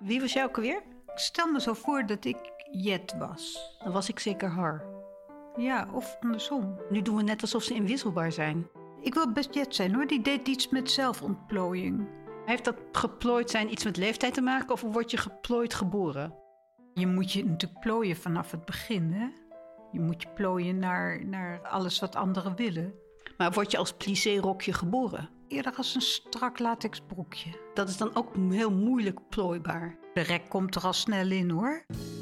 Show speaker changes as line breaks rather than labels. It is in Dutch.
Wie was jij ook alweer? Ik stel me zo voor dat ik Jet was.
Dan was ik zeker haar.
Ja, of andersom.
Nu doen we net alsof ze inwisselbaar zijn.
Ik wil best Jet zijn hoor. Die deed iets met zelfontplooiing.
Heeft dat geplooid zijn iets met leeftijd te maken of word je geplooid geboren?
Je moet je natuurlijk plooien vanaf het begin, hè? Je moet je plooien naar, naar alles wat anderen willen.
Maar word je als plissé-rokje geboren?
Eerder als een strak latexbroekje.
Dat is dan ook heel moeilijk plooibaar.
De rek komt er al snel in hoor.